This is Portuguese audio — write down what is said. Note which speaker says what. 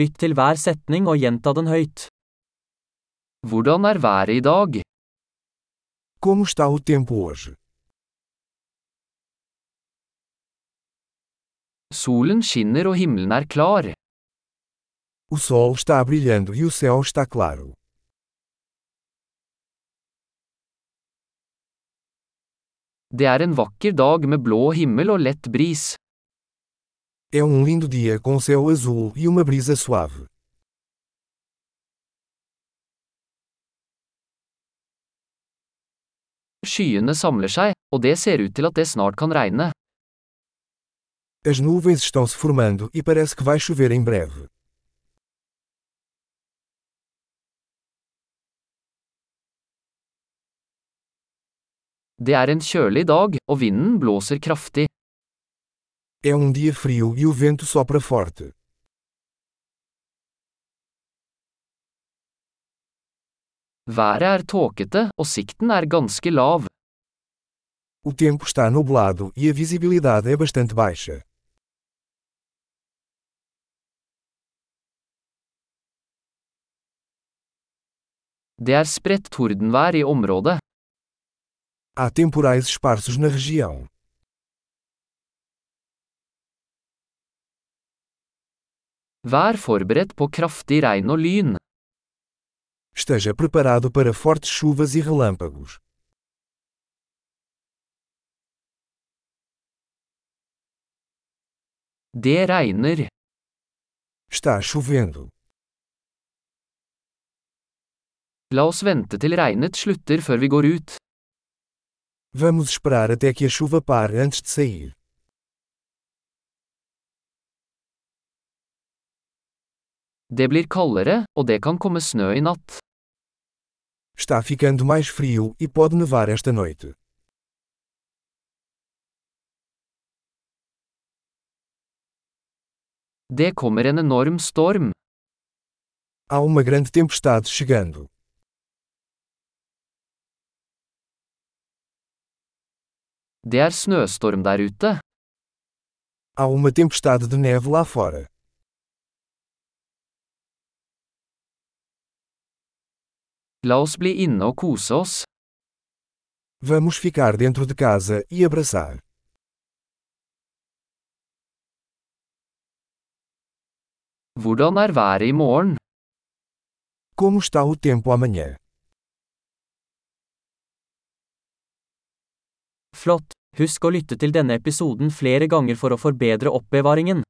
Speaker 1: Lytt til hver setning og gjenta den høyt.
Speaker 2: Hvordan er været i dag?
Speaker 3: Como está o tempo hoje?
Speaker 2: Solen skinner og himmelen er klar.
Speaker 3: O sol está brilhando e o céu está claro.
Speaker 2: Det er en vakker dag med blå himmel og lett bris.
Speaker 3: É um lindo dia com céu azul e uma brisa suave.
Speaker 2: Skyene samler seg, og det ser ut til at det snart kan regne.
Speaker 3: As nuvens estão se formando e parece que vai chover em breve.
Speaker 2: Det er en kjølig dag, og vinden blåser kraftig.
Speaker 3: É um dia frio e o vento sopra forte.
Speaker 2: Været er tåkete, og sikten er ganske lav.
Speaker 3: O tempo está nublado e a visibilidade é bastante baixa.
Speaker 2: Det er spredt tordenvær i området.
Speaker 3: Há temporais esparsos na região.
Speaker 2: Vær forberedt på kraftig regn og lyn.
Speaker 3: Esteja preparado para fortes chuvas e relâmpagos.
Speaker 2: Det regner.
Speaker 3: Está chovendo.
Speaker 2: La oss vente til regnet slutter før vi går ut.
Speaker 3: Vamos esperar até que a chuva pare antes de sair.
Speaker 2: Det blir kaldere, og det kan komme snø i natt.
Speaker 3: Está ficando mais frio e pode nevar esta noite.
Speaker 2: Det kommer en enorm storm.
Speaker 3: Há uma grande tempestade chegando.
Speaker 2: Det er snøstorm der ute.
Speaker 3: Há uma tempestade de neve lá fora.
Speaker 2: La oss bli inne og kose oss.
Speaker 3: Vamos ficar dentro de casa e abraçar.
Speaker 2: Hvordan er været i morgen?
Speaker 3: Como está o tempo amanhã?
Speaker 1: Flott! Husk å lytte til denne episoden flere ganger for å forbedre oppbevaringen.